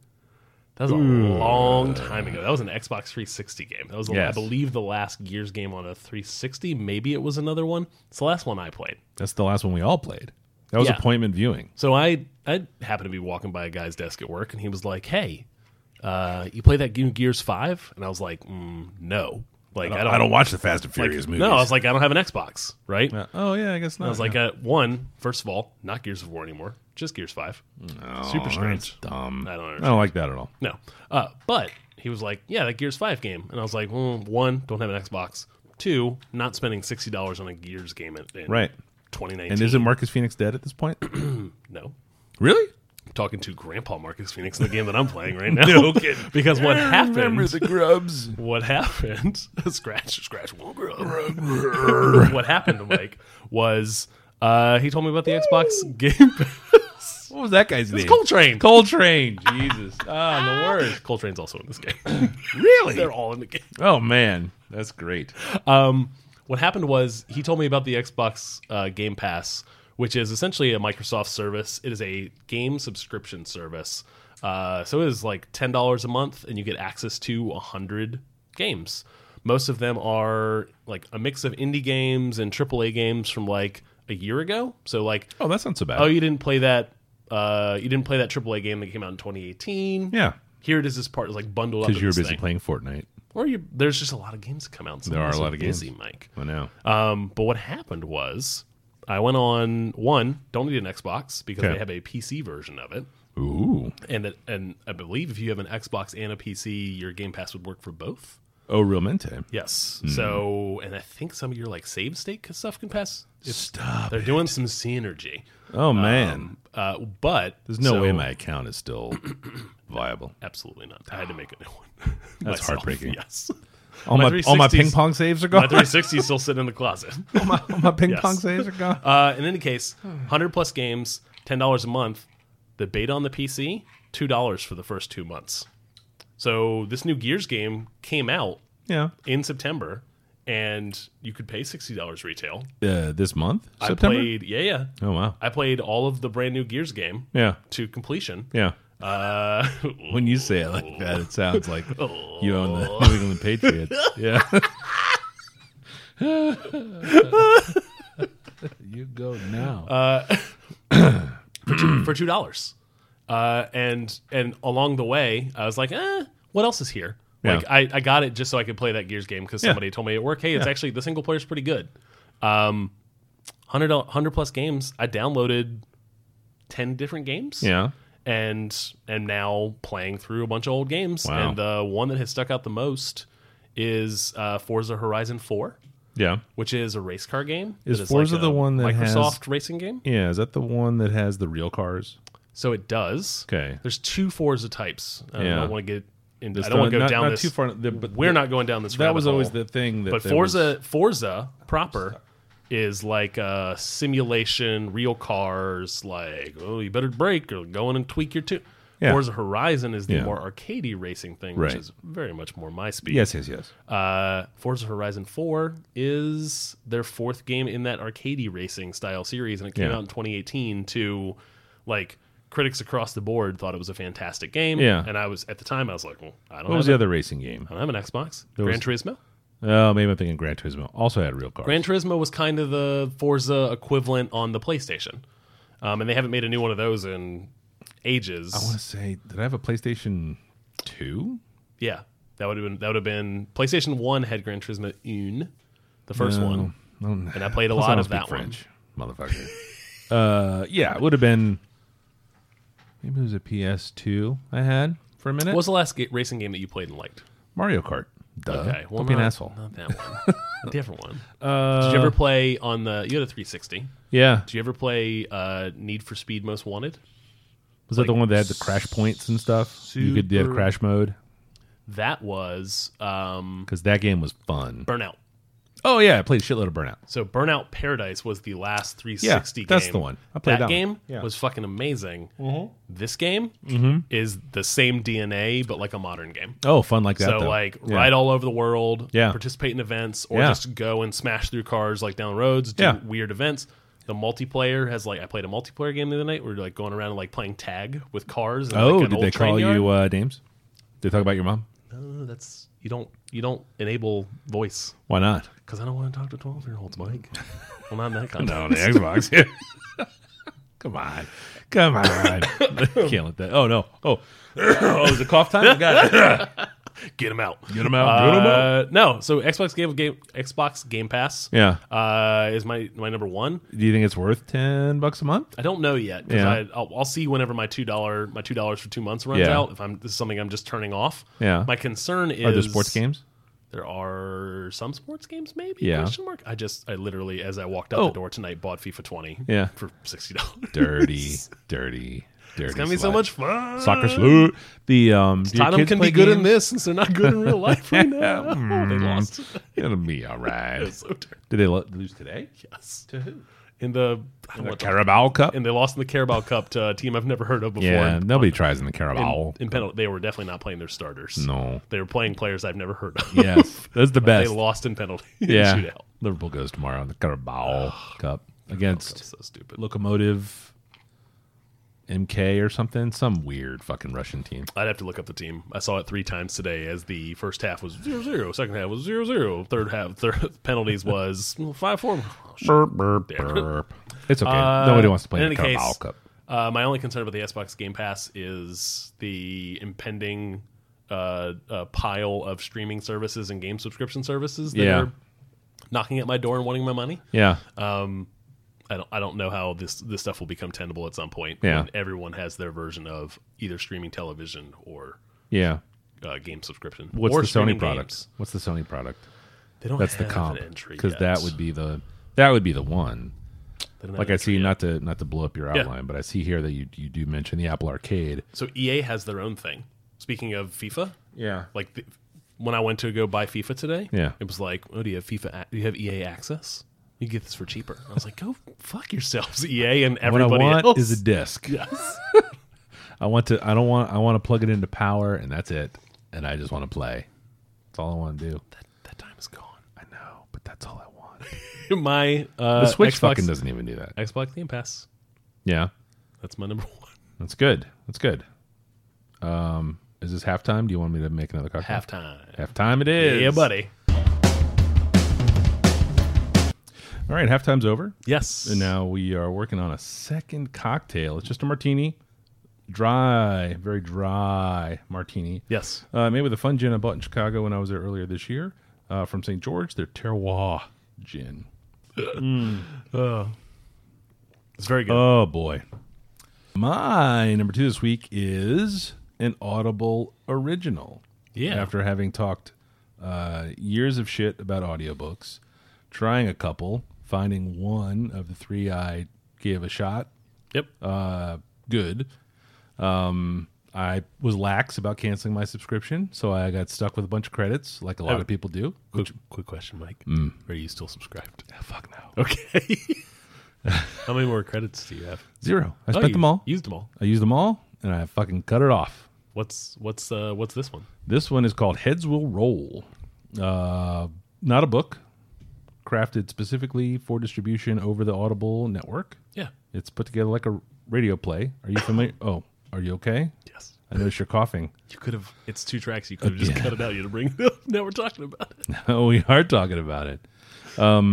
Speaker 2: That was a long time ago. That was an Xbox 360 game. That was, I
Speaker 1: Yes.
Speaker 2: believe, the last Gears game on a 360. Maybe it was another one. It's the last one I played.
Speaker 1: That's the last one we all played. That was
Speaker 2: Yeah.
Speaker 1: appointment viewing.
Speaker 2: So I I happened to be walking by a guy's desk at work, and he was like, "Hey, uh, you play that game Gears 5? And I was like, mm, "No, like I don't,
Speaker 1: watch the Fast and Furious
Speaker 2: no." I was like, "I don't have an Xbox, right?"
Speaker 1: Uh, oh yeah, I guess not.
Speaker 2: I was like, uh, one, first of all, not Gears of War anymore, just Gears 5. Super strange.
Speaker 1: Oh, dumb.
Speaker 2: I don't understand.
Speaker 1: I don't like that at all.
Speaker 2: No. Uh, but he was like, yeah, that Gears 5 game. And I was like, well, one, don't have an Xbox. Two, not spending $60 on a Gears game in, in
Speaker 1: Right.
Speaker 2: 2019.
Speaker 1: And isn't Marcus Phoenix dead at this point?
Speaker 2: No.
Speaker 1: really?
Speaker 2: I'm talking to Grandpa Marcus Phoenix in the game that I'm playing right now. no kidding. because what happened,
Speaker 1: grubs.
Speaker 2: what happened, scratch, scratch, what happened, Mike, was uh, he told me about the Xbox game Pass.
Speaker 1: What was that guy's name?
Speaker 2: Coltrane.
Speaker 1: Coltrane. Jesus. Ah, the worst.
Speaker 2: Coltrane's also in this game.
Speaker 1: Really?
Speaker 2: They're all in the game.
Speaker 1: Oh man, that's great.
Speaker 2: Um, what happened was he told me about the Xbox uh, Game Pass, which is essentially a Microsoft service. It is a game subscription service. Uh, so it is like ten dollars a month, and you get access to hundred games. Most of them are like a mix of indie games and AAA games from like a year ago. So like,
Speaker 1: Oh, that sounds so bad.
Speaker 2: oh, you didn't play that. Uh, you didn't play that AAA game that came out in 2018.
Speaker 1: yeah,
Speaker 2: Here it is. This part is like bundled up.
Speaker 1: because
Speaker 2: Because
Speaker 1: you were busy playing Fortnite.
Speaker 2: or you there's just a lot of games that come out.
Speaker 1: There are a lot of games.
Speaker 2: busy, Mike.
Speaker 1: I know.
Speaker 2: Um, but what happened was I went on one. Don't need an Xbox because
Speaker 1: Okay.
Speaker 2: they have a PC version of it,
Speaker 1: Ooh.
Speaker 2: and it, and I believe if you have an Xbox and a PC, your Game Pass would work for both.
Speaker 1: Oh, real mente.
Speaker 2: Yes. So and I think some of your like save state stuff can pass. It's,
Speaker 1: Stop.
Speaker 2: they're doing some synergy.
Speaker 1: Oh man,
Speaker 2: Uh, but
Speaker 1: there's no
Speaker 2: um, so-
Speaker 1: way my account is still viable.
Speaker 2: absolutely not. I had to make a new one.
Speaker 1: That's
Speaker 2: myself,
Speaker 1: heartbreaking.
Speaker 2: Yes.
Speaker 1: All
Speaker 2: My
Speaker 1: my, all my
Speaker 2: 360s
Speaker 1: ping pong saves are
Speaker 2: My
Speaker 1: gone.
Speaker 2: 360 is still sitting in the closet.
Speaker 1: all, my, all my ping
Speaker 2: Yes.
Speaker 1: pong saves are gone.
Speaker 2: Uh, in any case, 100 plus games, $10 a month. The beta on the PC, $2 for the first two months. So this new Gears game came out
Speaker 1: yeah.
Speaker 2: in September, and you could pay $60 retail.
Speaker 1: Uh, this month,
Speaker 2: I
Speaker 1: September.
Speaker 2: played, yeah, yeah.
Speaker 1: oh wow.
Speaker 2: I played all of the brand new Gears game
Speaker 1: Yeah.
Speaker 2: to completion.
Speaker 1: Yeah.
Speaker 2: Uh, Oh.
Speaker 1: When you say it like that, it sounds like you own the New England Patriots. Yeah. you go now.
Speaker 2: for two dollars. Uh, and and along the way, I was like, eh, what else is here?
Speaker 1: Yeah.
Speaker 2: Like I, I got it just so I could play that Gears game because
Speaker 1: Yeah.
Speaker 2: somebody told me at work, hey, it's actually the single player's pretty good. Um, 100, 100 plus games. I downloaded ten different games.
Speaker 1: yeah.
Speaker 2: and am now playing through a bunch of old games.
Speaker 1: Wow.
Speaker 2: And the one that has stuck out the most is uh, Forza Horizon Four,
Speaker 1: Yeah.
Speaker 2: which is a race car game.
Speaker 1: Is
Speaker 2: It
Speaker 1: Forza
Speaker 2: a
Speaker 1: the one that has-
Speaker 2: Microsoft racing game?
Speaker 1: Yeah. Is that the one that has the real cars?
Speaker 2: So it does.
Speaker 1: Okay.
Speaker 2: There's two Forza types. I
Speaker 1: Yeah.
Speaker 2: don't want to get into.
Speaker 1: Just
Speaker 2: I don't want
Speaker 1: the-
Speaker 2: to go
Speaker 1: not-
Speaker 2: down
Speaker 1: not
Speaker 2: this.
Speaker 1: too far. the- but
Speaker 2: We're not going down this.
Speaker 1: That
Speaker 2: rabbit
Speaker 1: was always
Speaker 2: hole.
Speaker 1: the thing. That
Speaker 2: But
Speaker 1: there
Speaker 2: Forza, Forza proper is like a simulation, real cars. Like, oh, you better brake or go in and tweak your tune.
Speaker 1: Yeah.
Speaker 2: Forza Horizon is the
Speaker 1: Yeah.
Speaker 2: more arcadey racing thing,
Speaker 1: Right.
Speaker 2: which is very much more my speed.
Speaker 1: Yes. Yes. Yes.
Speaker 2: Uh, Forza Horizon 4 is their fourth game in that arcadey racing style series, and it came
Speaker 1: Yeah.
Speaker 2: out in 2018 to like critics across the board thought it was a fantastic game.
Speaker 1: Yeah.
Speaker 2: And I was at the time I was like, well, I don't,
Speaker 1: What
Speaker 2: have,
Speaker 1: was the
Speaker 2: a-
Speaker 1: other racing game?
Speaker 2: I don't have an Xbox.
Speaker 1: There
Speaker 2: Gran
Speaker 1: was-
Speaker 2: Turismo.
Speaker 1: Oh, maybe I'm thinking Gran Turismo. Also had real cars.
Speaker 2: Gran Turismo was kind of the Forza equivalent on the PlayStation, um, and they haven't made a new one of those in ages.
Speaker 1: I want to say, did I have a PlayStation Two?
Speaker 2: Yeah, that would have been that would have been PlayStation One had Gran Turismo Un, the first one,
Speaker 1: Oh,
Speaker 2: and I played a
Speaker 1: Plus, I
Speaker 2: lot
Speaker 1: don't
Speaker 2: of
Speaker 1: speak
Speaker 2: that one.
Speaker 1: French, motherfucker. uh, yeah, it would have been. Maybe it was a PS2 I had for a minute.
Speaker 2: What was the last ga- racing game that you played and liked?
Speaker 1: Mario Kart? Duh.
Speaker 2: Okay, well,
Speaker 1: Don't be an
Speaker 2: not-
Speaker 1: asshole. Uh,
Speaker 2: Not that one. a different one. Did you ever play on the? You had a 360.
Speaker 1: Yeah.
Speaker 2: Did you ever play uh, Need for Speed Most Wanted?
Speaker 1: Was that the one that had the crash points and stuff? You could have
Speaker 2: Super-
Speaker 1: crash mode
Speaker 2: That was um,
Speaker 1: because that game was fun.
Speaker 2: Burnout.
Speaker 1: Oh yeah, I played a shitload of Burnout.
Speaker 2: So Burnout Paradise was the last 360
Speaker 1: Yeah,
Speaker 2: game.
Speaker 1: that's the one. I played that one.
Speaker 2: game
Speaker 1: Yeah. Mm-hmm.
Speaker 2: was fucking amazing. This game is the same DNA but like a modern game.
Speaker 1: Oh, fun like that.
Speaker 2: So
Speaker 1: though.
Speaker 2: like
Speaker 1: yeah.
Speaker 2: ride all over the world,
Speaker 1: Yeah.
Speaker 2: participate in events, or
Speaker 1: Yeah.
Speaker 2: just go and smash through cars like down roads, do
Speaker 1: Yeah.
Speaker 2: weird events. The multiplayer has like I played a multiplayer game the other night. where you are like going around and like playing tag with cars. And,
Speaker 1: Oh,
Speaker 2: like, an
Speaker 1: did
Speaker 2: old
Speaker 1: they call
Speaker 2: train yard.
Speaker 1: you uh, names? Did they talk about your mom?
Speaker 2: No, that's you don't you don't enable voice
Speaker 1: Why not?
Speaker 2: because I don't want to talk to twelve year olds, Mike. well, not in that kind
Speaker 1: No, the Xbox. Yeah. Come on. Come on. Can't let that. Oh, no. Oh. oh, is it cough time? I got it.
Speaker 2: Get him out.
Speaker 1: Get 'em out, get 'em
Speaker 2: Uh, no, so Xbox Game Game Xbox Game Pass.
Speaker 1: Yeah.
Speaker 2: Uh, is my my number one.
Speaker 1: Do you think it's worth 10 bucks a month?
Speaker 2: I don't know yet because
Speaker 1: Yeah.
Speaker 2: I I'll, I'll see whenever my two dollar my two dollars for two months runs
Speaker 1: Yeah.
Speaker 2: out. If I'm this is something I'm just turning off.
Speaker 1: Yeah.
Speaker 2: My concern is
Speaker 1: Are there sports games?
Speaker 2: There are some sports games, maybe.
Speaker 1: Yeah.
Speaker 2: Question mark. I just I literally as I walked out
Speaker 1: Oh.
Speaker 2: the door tonight bought FIFA 20.
Speaker 1: Yeah.
Speaker 2: For sixty dollars.
Speaker 1: Dirty, dirty, dirty.
Speaker 2: It's gonna be so
Speaker 1: slut.
Speaker 2: much fun.
Speaker 1: Soccer salute. The, um, do your
Speaker 2: Tottenham
Speaker 1: kids
Speaker 2: can
Speaker 1: play
Speaker 2: be good in
Speaker 1: games?
Speaker 2: this since they're not good in real life right now. Oh, they lost.
Speaker 1: It'll be all right.
Speaker 2: It's so terrible.
Speaker 1: Did they lo- lose today?
Speaker 2: Yes. To who? In the, I don't
Speaker 1: The
Speaker 2: want to-
Speaker 1: Carabao Cup?
Speaker 2: and they lost in the Carabao Cup to a team I've never heard of before.
Speaker 1: yeah,
Speaker 2: in,
Speaker 1: nobody tries in the Carabao.
Speaker 2: in penalty, they were definitely not playing their starters.
Speaker 1: No.
Speaker 2: they were playing players I've never heard of.
Speaker 1: Yes, that's the
Speaker 2: they
Speaker 1: best.
Speaker 2: lost in penalty
Speaker 1: yeah.
Speaker 2: shootout.
Speaker 1: Liverpool goes tomorrow in the Carabao Cup against
Speaker 2: So stupid.
Speaker 1: Locomotive MK or something, some weird fucking Russian team.
Speaker 2: I'd have to look up the team. I saw it three times today. As the first half was 0-0, second half was 0-0, third half third, penalties was five four.
Speaker 1: Burp, burp, burp. It's okay. Nobody wants to play
Speaker 2: Uh, in
Speaker 1: in the
Speaker 2: any case,
Speaker 1: Carabao Cup.
Speaker 2: Uh, my only concern about the Xbox Game Pass is the impending uh, uh, pile of streaming services and game subscription services that
Speaker 1: Yeah.
Speaker 2: are knocking at my door and wanting my money.
Speaker 1: Yeah,
Speaker 2: I don't, I don't know how this this stuff will become tenable at some point.
Speaker 1: Yeah.
Speaker 2: when everyone has their version of either streaming television or
Speaker 1: yeah.
Speaker 2: uh, game subscription.
Speaker 1: What's
Speaker 2: or
Speaker 1: the Sony
Speaker 2: streaming
Speaker 1: product?
Speaker 2: games.
Speaker 1: What's the Sony product?
Speaker 2: They don't
Speaker 1: That's the
Speaker 2: have
Speaker 1: comp
Speaker 2: an entry
Speaker 1: because
Speaker 2: yet.
Speaker 1: that would be the that would be the one.
Speaker 2: They don't have
Speaker 1: Like I
Speaker 2: an entry
Speaker 1: see,
Speaker 2: yet.
Speaker 1: not to not to blow up your
Speaker 2: Yeah.
Speaker 1: outline, but I see here that you you do mention the Apple Arcade.
Speaker 2: So EA has their own thing. Speaking of FIFA,
Speaker 1: Yeah,
Speaker 2: like the, when I went to go buy FIFA today,
Speaker 1: Yeah.
Speaker 2: it was like, oh, do you have FIFA? ac- Do you have EA access? You get this for cheaper. I was like, go fuck yourselves, EA and
Speaker 1: what I
Speaker 2: everybody
Speaker 1: want
Speaker 2: else.
Speaker 1: is a disc.
Speaker 2: yes.
Speaker 1: I want to. I don't want. I want to plug it into power, and that's it. And I just want to play. That's all I want to do.
Speaker 2: that, that time is gone.
Speaker 1: I know, but that's all I want.
Speaker 2: My uh,
Speaker 1: The Switch
Speaker 2: Xbox,
Speaker 1: fucking doesn't even do that.
Speaker 2: Xbox Game Pass.
Speaker 1: Yeah,
Speaker 2: That's my number one.
Speaker 1: that's good. That's good. Um, is this halftime? Do you want me to make another cocktail?
Speaker 2: Halftime.
Speaker 1: Halftime it is.
Speaker 2: Yeah, buddy.
Speaker 1: All right, halftime's over,
Speaker 2: Yes.
Speaker 1: and now we are working on a second cocktail. It's just a martini, dry, very dry martini.
Speaker 2: Yes.
Speaker 1: Uh, made with a fun gin I bought in Chicago when I was there earlier this year uh, from St. George. Their Terroir gin.
Speaker 2: It's very good.
Speaker 1: Oh boy. My number two this week is an Audible original.
Speaker 2: Yeah.
Speaker 1: After having talked uh, years of shit about audiobooks, trying a couple, finding one of the three I gave a shot,
Speaker 2: yep.
Speaker 1: uh, good. Um, I was lax about canceling my subscription, so I got stuck with a bunch of credits, like a lot
Speaker 2: Oh.
Speaker 1: of people do.
Speaker 2: quick, quick question, Mike. Are you still subscribed?
Speaker 1: Fuck no.
Speaker 2: Okay. How many more credits do you have?
Speaker 1: Zero. I
Speaker 2: Oh,
Speaker 1: spent
Speaker 2: you
Speaker 1: them all.
Speaker 2: Used them all.
Speaker 1: I used them all, and I fucking cut it off.
Speaker 2: What's what's uh what's this one?
Speaker 1: This one is called Heads Will Roll. Uh, not a book, crafted specifically for distribution over the Audible network.
Speaker 2: Yeah.
Speaker 1: It's put together like a radio play. Are you familiar? oh, are you okay?
Speaker 2: Yes.
Speaker 1: I notice you're coughing.
Speaker 2: You could have. It's two tracks. You could have just
Speaker 1: yeah.
Speaker 2: cut it out. You to bring it up. Now we're talking about it.
Speaker 1: Oh, we are talking about it.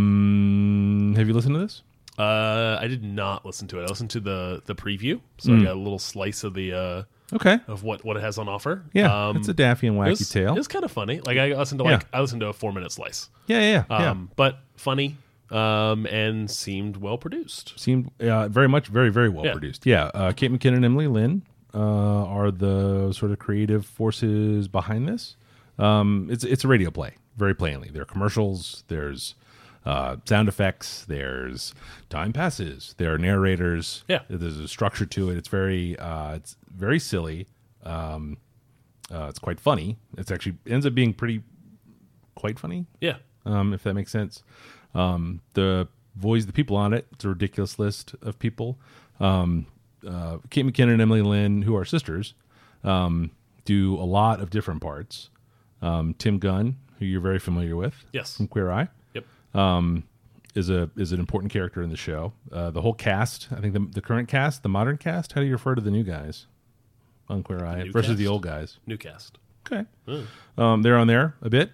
Speaker 1: Um, have you listened to this?
Speaker 2: Uh, I did not listen to it. I listened to the the preview, so
Speaker 1: Mm.
Speaker 2: I got a little slice of the uh
Speaker 1: Okay.
Speaker 2: of what what it has on offer. Um,
Speaker 1: Yeah, it's a Daffy and Wacky
Speaker 2: it was,
Speaker 1: Tale.
Speaker 2: It was kind of funny. Like I listened to
Speaker 1: Yeah.
Speaker 2: like I listened to a four minute slice.
Speaker 1: yeah, yeah, yeah.
Speaker 2: Um, but funny. Um, and seemed well produced.
Speaker 1: seemed uh, very much very very well
Speaker 2: Yeah.
Speaker 1: produced. Yeah, uh, Kate McKinnon and Emily Lynn uh, are the sort of creative forces behind this. Um, it's it's a radio play, very plainly. There are commercials. There's uh, sound effects. There's time passes. There are narrators.
Speaker 2: Yeah.
Speaker 1: there's a structure to it. It's very uh, it's very silly. Um, uh, it's quite funny. It's actually ends up being pretty quite funny
Speaker 2: Yeah.
Speaker 1: um, if that makes sense. Um, the voice, the people on it, it's a ridiculous list of people. Um, uh, Kate McKinnon and Emily Lynn, who are sisters, um, do a lot of different parts. Um, Tim Gunn, who you're very familiar with,
Speaker 2: Yes.
Speaker 1: from Queer Eye, um,
Speaker 2: Yep.
Speaker 1: is a is an important character in the show. Uh, the whole cast, I think the, the current cast, the modern cast. How do you refer to the new guys on Queer Eye
Speaker 2: new
Speaker 1: versus the
Speaker 2: cast?
Speaker 1: old guys?
Speaker 2: New cast.
Speaker 1: Okay. Um, they're on there a bit.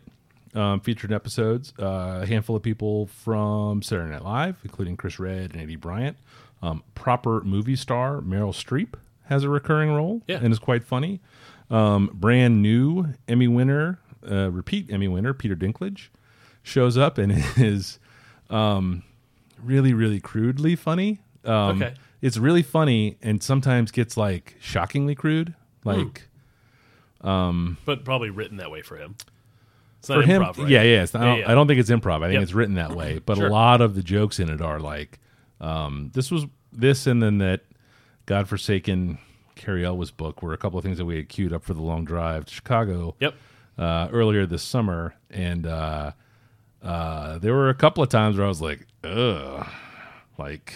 Speaker 1: Um, featured episodes, uh, a handful of people from Saturday Night Live, including Chris Red and Eddie Bryant. Um, proper movie star Meryl Streep has a recurring role
Speaker 2: Yeah.
Speaker 1: and is quite funny. Um, brand new Emmy winner, uh, repeat Emmy winner, Peter Dinklage, shows up and is um, really, really crudely funny. Um,
Speaker 2: Okay.
Speaker 1: It's really funny and sometimes gets like shockingly crude.
Speaker 2: Hmm.
Speaker 1: Like,
Speaker 2: But probably written that way for him. It's
Speaker 1: for
Speaker 2: not
Speaker 1: him,
Speaker 2: improv, right?
Speaker 1: yeah, yeah, it's not, I, don't,
Speaker 2: yeah.
Speaker 1: I don't think it's improv. I think
Speaker 2: Yep.
Speaker 1: it's written that way. But
Speaker 2: Sure.
Speaker 1: a lot of the jokes in it are like, um, this was this, and then that godforsaken Carrie Elwes book were a couple of things that we had queued up for the long drive to Chicago
Speaker 2: Yep.
Speaker 1: uh, earlier this summer, and uh, uh, there were a couple of times where I was like, ugh, like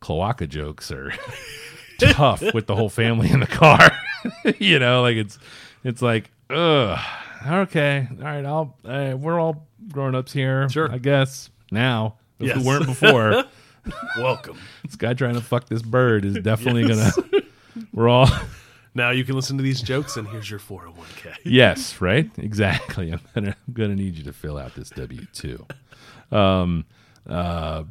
Speaker 1: cloaca jokes are tough with the whole family in the car. you know, like it's it's like, ugh, okay, all right, I'll uh, we're all grown ups here,
Speaker 2: Sure.
Speaker 1: I guess now. If
Speaker 2: Yes.
Speaker 1: we weren't before,
Speaker 2: Welcome.
Speaker 1: this guy trying to fuck this bird is definitely gonna. We're all
Speaker 2: Now you can listen to these jokes, and here's your 401k.
Speaker 1: yes, right? Exactly. I'm gonna I'm gonna need you to fill out this W two. Um, uh,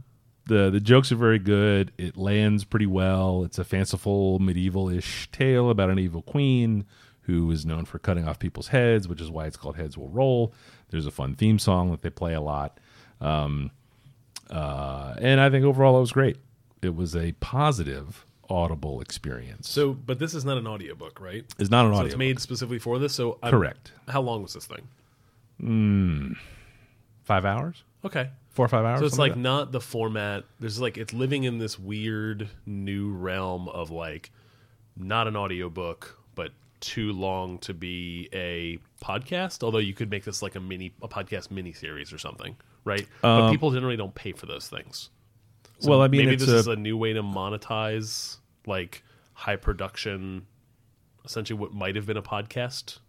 Speaker 1: the the jokes are very good. It lands pretty well. It's a fanciful medieval ish tale about an evil queen who is known for cutting off people's heads, which is why it's called Heads Will Roll. There's a fun theme song that they play a lot. Um, uh, and I think overall it was great. It was a positive audible experience.
Speaker 2: So, but this is not an audiobook, right?
Speaker 1: it's not an
Speaker 2: so
Speaker 1: audio.
Speaker 2: it's made specifically for this. So, I'm,
Speaker 1: Correct.
Speaker 2: How long was this thing?
Speaker 1: Five hours?
Speaker 2: Okay.
Speaker 1: Four or five hours?
Speaker 2: So it's
Speaker 1: something
Speaker 2: like
Speaker 1: that.
Speaker 2: not the format. There's like it's living in this weird new realm of like not an audiobook, but too long to be a podcast. Although you could make this like a mini a podcast mini series or something, right? but people generally don't pay for those things. So
Speaker 1: Um, Well, I mean,
Speaker 2: maybe
Speaker 1: it's
Speaker 2: this
Speaker 1: a-
Speaker 2: is a new way to monetize like high production, essentially what might have been a podcast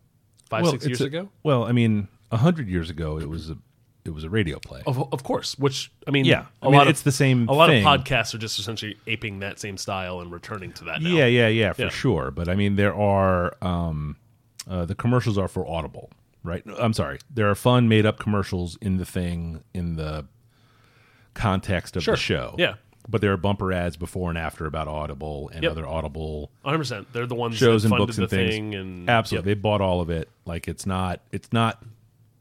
Speaker 2: five six
Speaker 1: it's
Speaker 2: years
Speaker 1: a-
Speaker 2: ago.
Speaker 1: Well, I mean, a hundred years ago, it was a it was a radio play.
Speaker 2: Of, of course, which I mean,
Speaker 1: Yeah. I
Speaker 2: a
Speaker 1: mean,
Speaker 2: lot of-
Speaker 1: it's the same
Speaker 2: A lot
Speaker 1: thing.
Speaker 2: of podcasts are just essentially aping that same style and returning to that. Now.
Speaker 1: yeah, yeah, yeah, for
Speaker 2: Yeah.
Speaker 1: sure. But I mean, there are um, uh, the commercials are for Audible, right? No, I'm sorry, there are fun made up commercials in the thing in the context of
Speaker 2: Sure.
Speaker 1: the show.
Speaker 2: Yeah.
Speaker 1: but there are bumper ads before and after about Audible and
Speaker 2: Yep.
Speaker 1: other Audible
Speaker 2: 100. percent They're the ones
Speaker 1: shows
Speaker 2: that
Speaker 1: and
Speaker 2: funded
Speaker 1: books
Speaker 2: the
Speaker 1: and things.
Speaker 2: thing, and
Speaker 1: Absolutely, they bought all of it. Like it's not it's not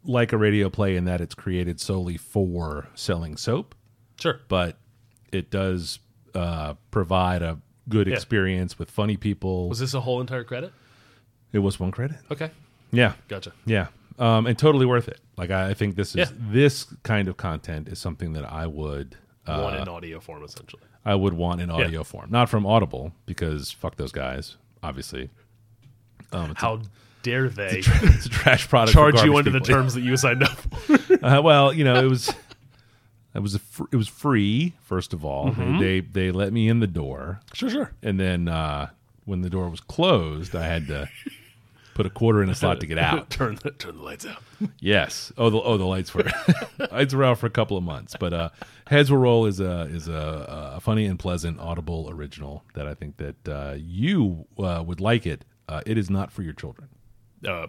Speaker 1: like a radio play in that it's created solely for selling soap.
Speaker 2: Yep. sure.
Speaker 1: but it does uh, provide a good
Speaker 2: Yeah.
Speaker 1: experience with funny people.
Speaker 2: Was this a whole entire credit?
Speaker 1: it was one credit.
Speaker 2: Okay,
Speaker 1: Yeah,
Speaker 2: gotcha.
Speaker 1: yeah, um, and totally worth it. Like I, I think this is
Speaker 2: Yeah.
Speaker 1: this kind of content is something that I would uh,
Speaker 2: One in audio form, essentially.
Speaker 1: I would want in audio form, not from Audible because fuck those guys. Obviously,
Speaker 2: How dare they
Speaker 1: um, it's a trash product. for
Speaker 2: charge you
Speaker 1: garbage
Speaker 2: under the
Speaker 1: people.
Speaker 2: terms that you signed up? for?
Speaker 1: Uh, well, you know, it was it was a fr- it was free. First of all,
Speaker 2: Mm-hmm.
Speaker 1: they they let me in the door.
Speaker 2: sure, sure.
Speaker 1: and then uh, when the door was closed, I had to put a quarter in a slot to get out.
Speaker 2: turn the turn the lights out.
Speaker 1: Yes. Oh, the oh the lights were lights were out for a couple of months, but uh, Heads Will Roll is a is a, a funny and pleasant Audible original that I think that uh, you uh, would like it. Uh, it is not for your children
Speaker 2: Uh,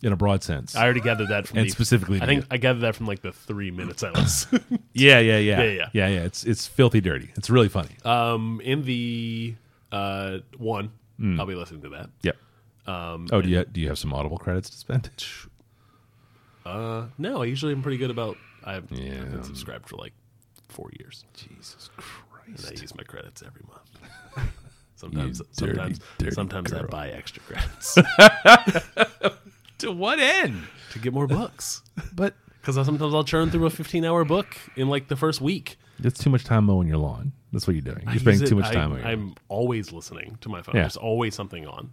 Speaker 1: in a broad sense.
Speaker 2: I already gathered that from
Speaker 1: And
Speaker 2: the-
Speaker 1: specifically
Speaker 2: I
Speaker 1: to
Speaker 2: think
Speaker 1: you.
Speaker 2: I gathered that from like the three minutes I was.
Speaker 1: yeah, yeah, yeah,
Speaker 2: Yeah, yeah.
Speaker 1: yeah, yeah. It's it's filthy dirty. It's really funny.
Speaker 2: um, in the uh one,
Speaker 1: Hmm.
Speaker 2: I'll be listening to that.
Speaker 1: yep. oh, do you do you have some Audible credits to spend?
Speaker 2: No, I usually am pretty good about. I've,
Speaker 1: Yeah.
Speaker 2: I've been subscribed for like four years. Jesus Christ! And I use my credits every month. sometimes,
Speaker 1: You dirty,
Speaker 2: sometimes,
Speaker 1: dirty
Speaker 2: sometimes I
Speaker 1: girl.
Speaker 2: buy extra credits to
Speaker 1: To what end?
Speaker 2: get more books.
Speaker 1: But
Speaker 2: Because sometimes I'll churn through a 15 hour book in like the first week.
Speaker 1: It's too much time mowing your lawn. That's what you're doing. You're
Speaker 2: I
Speaker 1: spending
Speaker 2: use
Speaker 1: too
Speaker 2: it-
Speaker 1: much
Speaker 2: I-
Speaker 1: time on your lawn.
Speaker 2: I'm always listening to my phone.
Speaker 1: Yeah.
Speaker 2: There's always something on.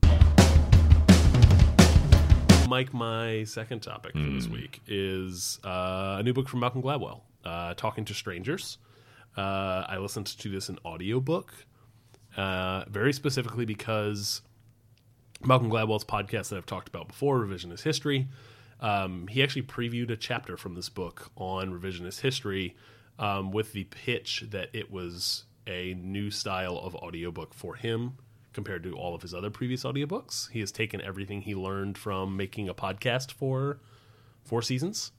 Speaker 2: Mike, my second topic for
Speaker 1: Hmm.
Speaker 2: this week is uh, a new book from Malcolm Gladwell, uh, Talking to Strangers. Uh, I listened to this in audiobook, uh, very specifically because Malcolm Gladwell's podcast that I've talked about before, Revisionist History. Um, he actually previewed a chapter from this book on revisionist history um, with the pitch that it was a new style of audiobook for him compared to all of his other previous audiobooks. He has taken everything he learned from making a podcast for four seasons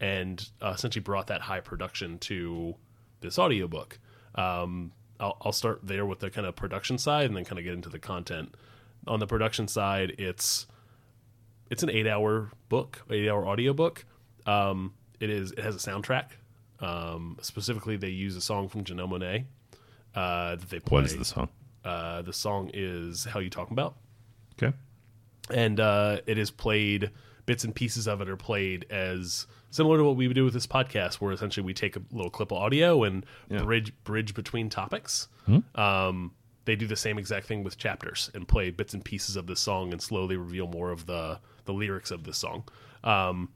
Speaker 2: and uh, essentially brought that high production to this audiobook. Um, I'll, I'll start there with the kind of production side and then kind of get into the content. On the production side, it's it's an eight hour book, eight hour audiobook. Um, it is it has a soundtrack. Um, specifically, they use a song from Janelle Monet uh, that they play.
Speaker 1: What is the song?
Speaker 2: Uh, the song is "How You Talking About."
Speaker 1: Okay.
Speaker 2: and uh, it is played bits and pieces of it are played as similar to what we would do with this podcast where essentially we take a little clip of audio and bridge bridge between topics um, they do the same exact thing with chapters and play bits and pieces of the song and slowly reveal more of the the lyrics of the song um,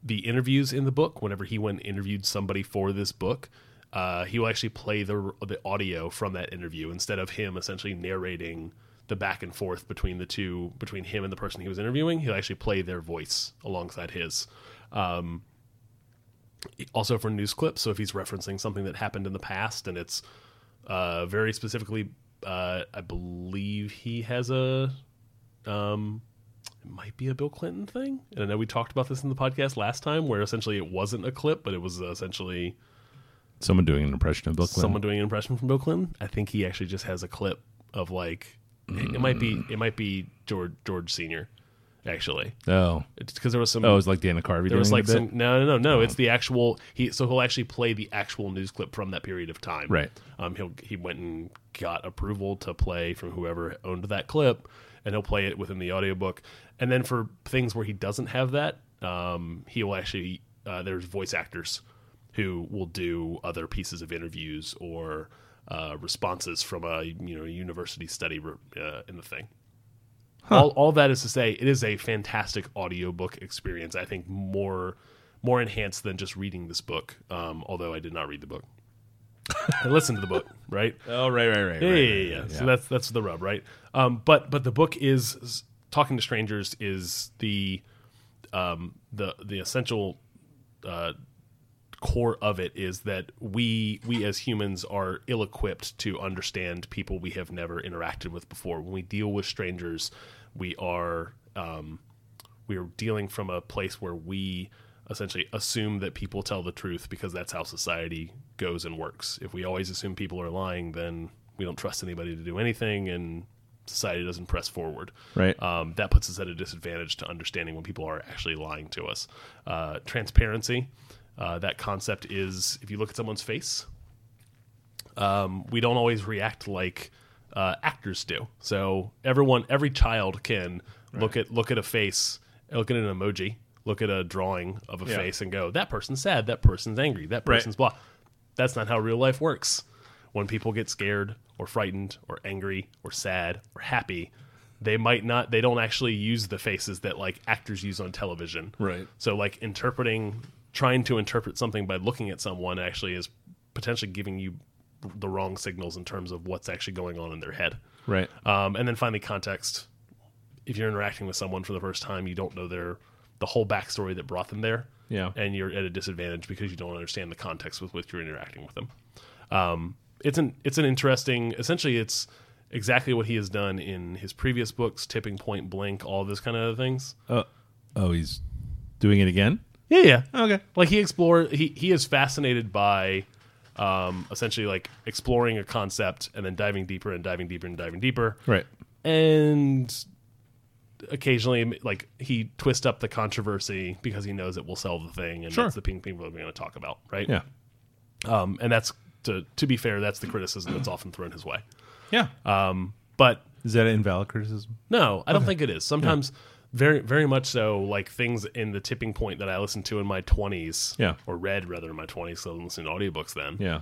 Speaker 2: the interviews in the book whenever he went and interviewed somebody for this book uh, he will actually play the the audio from that interview instead of him essentially narrating the back and forth between the two between him and the person he was interviewing he'll actually play their voice alongside his um, also for news clips so if he's referencing something that happened in the past and it's uh, very specifically uh, i believe he has a um, it might be a Bill Clinton thing. And I know we talked about this in the podcast last time, where essentially it wasn't a clip, but it was uh, essentially
Speaker 1: Someone doing an impression of Bill Clinton.
Speaker 2: someone doing an impression from Bill Clinton. I think he actually just has a clip of like it it might be it might be George George Senior, actually,
Speaker 1: Oh.
Speaker 2: because there was some
Speaker 1: Oh, it was like Dana Carvey
Speaker 2: there
Speaker 1: doing
Speaker 2: was
Speaker 1: it
Speaker 2: like
Speaker 1: a bit? Oh.
Speaker 2: some no no no no it's the actual he so he'll actually play the actual news clip from that period of time
Speaker 1: Right.
Speaker 2: um he'll he went and got approval to play from whoever owned that clip and he'll play it within the audiobook and then for things where he doesn't have that um he will actually uh, there's voice actors who will do other pieces of interviews or uh, responses from a you know university study uh, in the thing all, all that is to say, it is a fantastic audiobook experience. I think more more enhanced than just reading this book. Um, although I did not read the book, I listened to the book. Right?
Speaker 1: Oh, right, right, right.
Speaker 2: Yeah, yeah, yeah, yeah. So that's that's the rub, right? Um, but but the book is- is talking to strangers is the um, the the essential uh, core of it is that we we as humans are ill equipped to understand people we have never interacted with before. When we deal with strangers, we are um, we are dealing from a place where we essentially assume that people tell the truth because that's how society goes and works. If we always assume people are lying, then we don't trust anybody to do anything, and society doesn't press forward
Speaker 1: Right.
Speaker 2: um, that puts us at a disadvantage to understanding when people are actually lying to us. Uh, transparency, uh, that concept is if you look at someone's face, um, we don't always react like uh, actors do. So everyone, every child can look at look at a face, look at an emoji, look at a drawing of a face, and go, "That person's sad. That person's angry. That person's blah." That's not how real life works. When people get scared or frightened or angry or sad or happy, they might not. They don't actually use the faces that like actors use on television.
Speaker 1: Right.
Speaker 2: So like interpreting, trying to interpret something by looking at someone actually is potentially giving you the wrong signals in terms of what's actually going on in their head.
Speaker 1: Right. Uh,
Speaker 2: Um, and then finally, context. If you're interacting with someone for the first time, you don't know their the whole backstory that brought them there.
Speaker 1: Yeah.
Speaker 2: And you're at a disadvantage because you don't understand the context with which you're interacting with them. Um, it's an it's an interesting. Essentially, it's exactly what he has done in his previous books, Tipping Point, Blank, all those kind of things.
Speaker 1: Oh, he's doing it again?
Speaker 2: Yeah, yeah.
Speaker 1: Okay.
Speaker 2: Like he explore he he is fascinated by um essentially like exploring a concept and then diving deeper and diving deeper and diving deeper.
Speaker 1: Right.
Speaker 2: And occasionally like he twists up the controversy because he knows it will sell the thing and
Speaker 1: Sure.
Speaker 2: that's the thing people are going to talk about, right?
Speaker 1: Yeah.
Speaker 2: Um and that's to to be fair, that's the criticism that's often thrown his way.
Speaker 1: Yeah. Uh,
Speaker 2: But
Speaker 1: is that an invalid criticism?
Speaker 2: no, I don't think it is. Sometimes Very, very much so. Like things in the tipping point that I listened to in my twenties,
Speaker 1: Yeah.
Speaker 2: or read rather in my twenties. So I listened to audiobooks then.
Speaker 1: Yeah.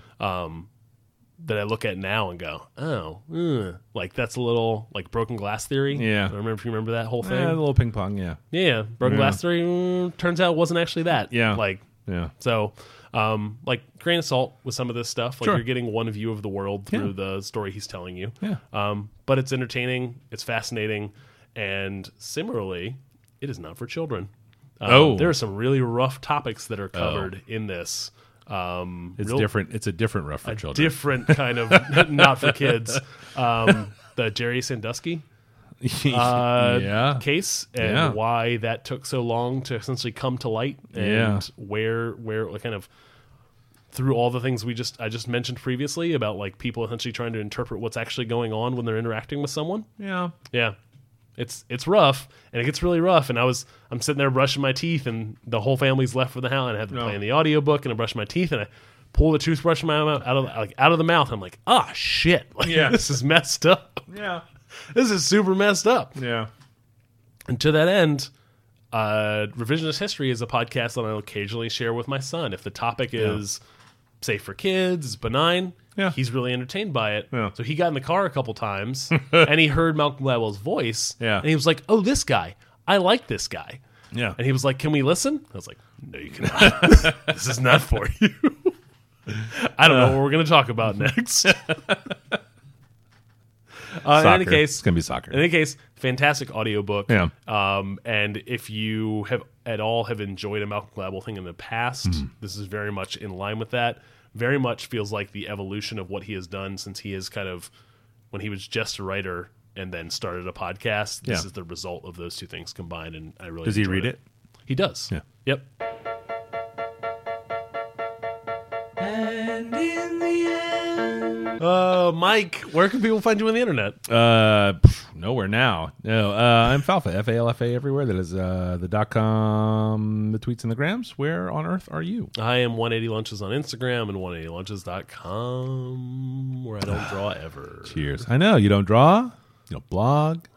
Speaker 2: that I look at now and go, oh, uh, like that's a little like broken glass theory.
Speaker 1: Yeah.
Speaker 2: I don't remember if you remember that whole thing.
Speaker 1: Eh, a little ping pong. Yeah.
Speaker 2: yeah, broken glass theory mm, turns out wasn't actually that.
Speaker 1: Yeah.
Speaker 2: like
Speaker 1: Yeah.
Speaker 2: so, um, like grain of salt with some of this stuff. Like
Speaker 1: Sure.
Speaker 2: you're getting one view of the world through
Speaker 1: Yeah.
Speaker 2: the story he's telling you.
Speaker 1: Yeah.
Speaker 2: Um, but it's entertaining. It's fascinating, and similarly, it is not for children. Um,
Speaker 1: Oh.
Speaker 2: there are some really rough topics that are covered in this. Um,
Speaker 1: It's
Speaker 2: real-
Speaker 1: different. It's a different rough for children.
Speaker 2: different kind of not for kids. Um, the Jerry Sandusky uh,
Speaker 1: yeah.
Speaker 2: case and
Speaker 1: Yeah.
Speaker 2: why that took so long to essentially come to light and
Speaker 1: Yeah.
Speaker 2: where where what kind of through all the things we just I just mentioned previously about like people essentially trying to interpret what's actually going on when they're interacting with someone.
Speaker 1: yeah.
Speaker 2: Yeah. It's it's rough and it gets really rough and I was I'm sitting there brushing my teeth and the whole family's left for the house and I have them playing the audiobook and I brush my teeth and I pull the toothbrush from my mouth out of like out of the mouth. I'm like, ah shit. Like,
Speaker 1: Yeah.
Speaker 2: this is messed up.
Speaker 1: Yeah.
Speaker 2: This is super messed up.
Speaker 1: Yeah.
Speaker 2: And to that end, uh, Revisionist History is a podcast that I'll occasionally share with my son. If the topic is safe for kids, is benign,
Speaker 1: Yeah.
Speaker 2: he's really entertained by it.
Speaker 1: Yeah.
Speaker 2: So he got in the car a couple times and he heard Malcolm Gladwell's voice.
Speaker 1: Yeah.
Speaker 2: And he was like, oh, this guy. I like this guy.
Speaker 1: Yeah.
Speaker 2: And he was like, can we listen? I was like, no, you cannot. this is not for you. I
Speaker 1: Uh,
Speaker 2: don't know what we're going to talk about next. uh, in any
Speaker 1: Soccer.
Speaker 2: case,
Speaker 1: it's gonna be soccer.
Speaker 2: in any case, fantastic audiobook.
Speaker 1: Yeah.
Speaker 2: Um, and if you have at all have enjoyed a Malcolm Gladwell thing in the past,
Speaker 1: Hmm.
Speaker 2: this is very much in line with that. Very much feels like the evolution of what he has done since he is kind of when he was just a writer and then started a podcast. This
Speaker 1: Yeah.
Speaker 2: is the result of those two things combined, and I really
Speaker 1: Does he
Speaker 2: enjoyed
Speaker 1: read it?
Speaker 2: He does.
Speaker 1: Yeah.
Speaker 2: Yep. Uh, Mike, where can people find you on the internet?
Speaker 1: Uh, pff, nowhere now. No, uh, I'm Falfa, F A L F A everywhere. That is uh, the dot com, the tweets, and the grams. Where on earth are you?
Speaker 2: I am 180 Lunches on Instagram and 180lunches.com, where I don't draw ever.
Speaker 1: Cheers. I know you don't draw, you don't blog,